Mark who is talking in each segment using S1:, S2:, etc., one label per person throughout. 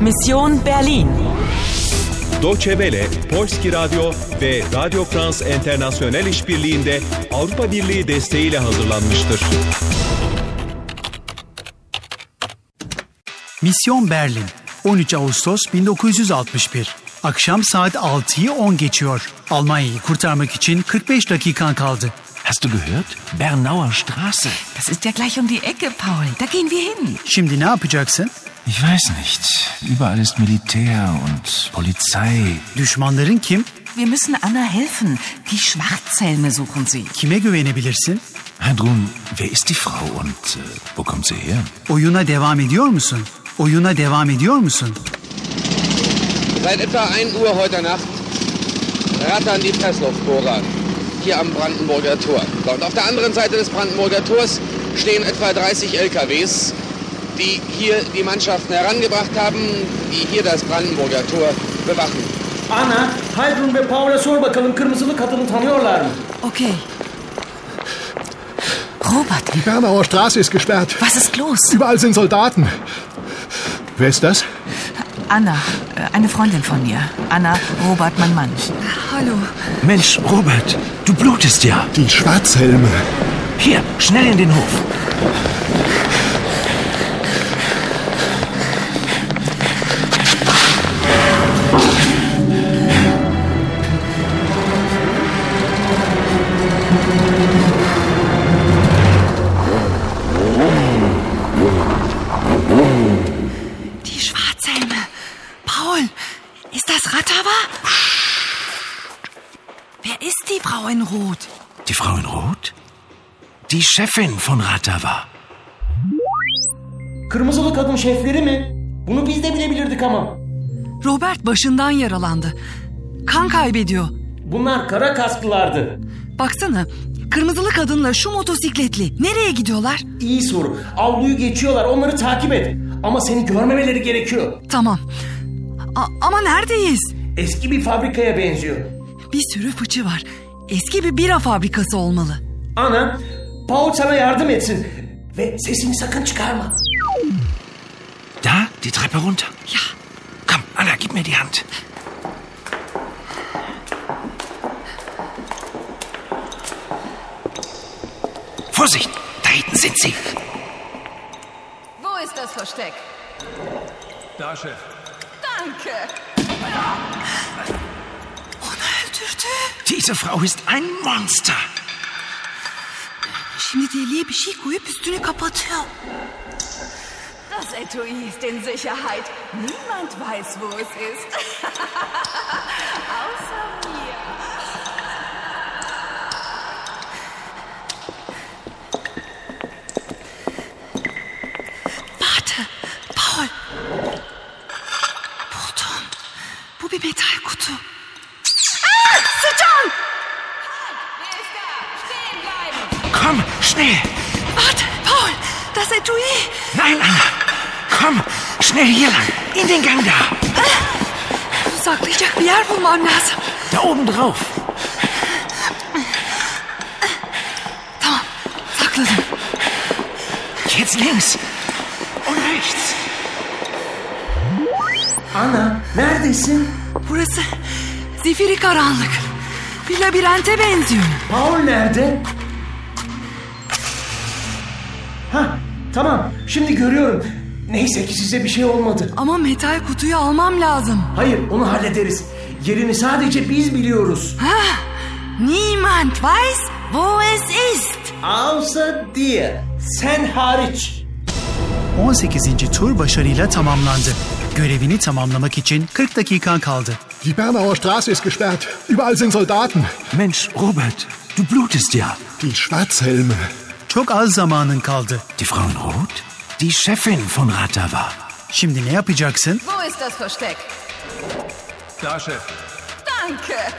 S1: Mission Berlin.
S2: Deutsche Welle, Polski Radyo ve Radio France International işbirliğinde Avrupa Birliği desteğiyle hazırlanmıştır.
S3: Misyon Berlin, 13 Ağustos 1961. Akşam saat 6'yı 10 geçiyor. Almanya'yı kurtarmak için 45 dakikan kaldı.
S4: Hast du gehört? Bernauer Straße.
S5: Das ist ja gleich um die Ecke, Paul. Da gehen wir hin.
S3: Şimdi ne yapacaksın?
S4: Ich weiß nicht. Überall ist Militär und Polizei.
S3: Düşmanların kim?
S5: Wir müssen Anna helfen. Die Schwarzhelme suchen sie.
S3: Kime güvenebilirsin?
S4: Hadrun, wer ist die Frau und äh, wo kommt sie her?
S3: Oyuna devam ediyor musun? Oyuna devam ediyor musun?
S6: Seit etwa 1 Uhr heute Nacht rattern die Pressluftbohrer hier am Brandenburger Tor. So, Und auf der anderen Seite des Brandenburger Tors stehen etwa 30 LKWs, die hier die Mannschaften herangebracht haben, die hier das Brandenburger Tor bewachen.
S7: Ana, Haydrun ve Paul'a sor bakalım kırmızılı kadını tanıyorlar mı?
S5: Okay. Robert,
S8: Die Bernauer Straße ist gesperrt.
S5: was ist los?
S8: Überall sind Soldaten. Wer ist das?
S5: Anna, äh, eine Freundin von mir. Anna, Robert, mein Mann.
S4: Mensch, Robert, du blutest ja.
S8: Die Schwarzhelme.
S4: Hier, schnell in den Hof.
S5: Die Schwarzhelme. Paul, ist das Ratava? Wer ist die Frau in Rot?
S4: Die Frau in Rot? Die Chefin von Ratava.
S7: Kırmızılı kadın şefleri mi? Bunu biz de bilebilirdik ama.
S9: Robert başından yaralandı. Kan kaybediyor.
S7: Bunlar kara kasklılardı.
S9: Baksana kırmızılı kadınla şu motosikletli nereye gidiyorlar?
S7: İyi soru. Avluyu geçiyorlar. Onları takip et. Ama seni görmemeleri gerekiyor.
S9: Tamam. A- ama neredeyiz?
S7: Eski bir fabrikaya benziyor.
S9: Bir sürü fıçı var. Eski bir bira fabrikası olmalı.
S7: Ana, Paul sana yardım etsin. Ve sesini sakın çıkarma.
S4: Da, die Treppe runter.
S9: Ja.
S4: Komm, Anna, gib mir die Hand. Vorsicht, da hinten sind sie.
S10: Wo ist das Versteck?
S2: Da şef.
S10: Danke.
S4: Diese Frau ist ein Monster.
S9: Şimdi deliğe bir şey koyup üstünü kapatıyor.
S10: Das Etui ist in Sicherheit. Niemand weiß, wo es ist. Außer mir.
S9: Warte, Paul. Buldum. Bu bir metal kutu. Ah, Aa, sıcağım.
S10: Wer ist da? Stehen bleiben!
S4: Komm, schnell.
S9: Warte, Paul. Das etui.
S4: Nein, Anna. Komm, schnell hier lang. In den Gang da.
S9: Saklayacak bir yer bulmam lazım.
S4: Da oben drauf.
S9: Tamam, sakladım.
S4: Jetzt links. Und rechts.
S7: Ana, neredesin?
S9: Burası zifiri karanlık. Bir labirente benziyor.
S7: Paul nerede? Ha, tamam. Şimdi görüyorum. Neyse ki size bir şey olmadı.
S9: Ama metal kutuyu almam lazım.
S7: Hayır, onu hallederiz. Yerini sadece biz biliyoruz.
S9: Ha, niemand weiß, wo es ist.
S7: Außer diye. Sen hariç.
S3: 18. tur başarıyla tamamlandı. Görevini tamamlamak için 40 dakikan kaldı.
S8: Die Bernauer Straße ist gesperrt. Überall sind Soldaten.
S4: Mensch, Robert, du blutest ja.
S8: Die Schwarzhelme.
S3: Çok az zamanın kaldı.
S4: Die Frau in Rot? Die Chefin von Ratava.
S3: Şimdi ne yapacaksın?
S10: Wo ist das Versteck?
S2: Da şef.
S10: Danke.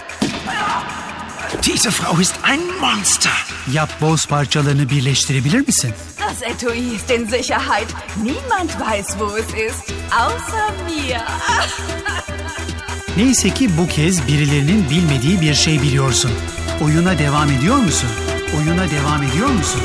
S4: Diese Frau ist ein Monster.
S3: Yap boz parçalarını birleştirebilir misin?
S10: Das Etui ist in Sicherheit. Niemand weiß, wo es ist. Außer mir.
S3: Neyse ki bu kez birilerinin bilmediği bir şey biliyorsun. Oyuna devam ediyor musun? Oyuna devam ediyor musun?